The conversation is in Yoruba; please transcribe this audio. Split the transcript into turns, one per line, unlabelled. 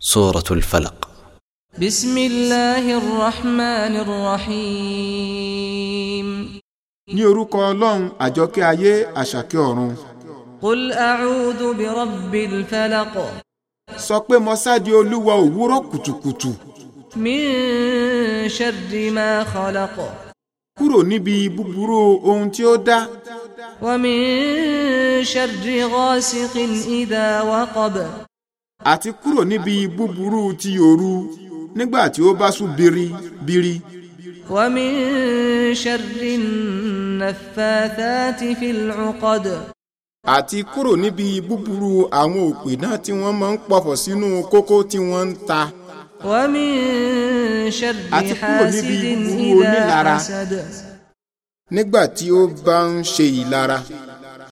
سورة الفلق
بسم الله الرحمن الرحيم
ní orúkọ ọlọ́run àjọkẹ́ ayé àṣàkẹ́ ọ̀run
قل أعوذ برب الفلق
sọ pé mo sáde olúwa òwúrọ̀ kùtùkùtù
من شر ما خلق
kúrò níbi búburú ohun tí ó dá
ومن شر غاسق إذا وقب
àti kúrò níbi búburú ti òru nígbà tí ó bá sùn biri biri
ومن شر النفاثات في العقد
àti kúrò níbi búburú àwọn òpè náà tí wọ́n máa ń pọ̀fọ̀ sínú kókó tí wọ́n ń ta
ومن شر
أتقول
حاسد
نبي يقول
إذا
للعرى.
حسد
nígbà tí ó bá ń ṣe ìlara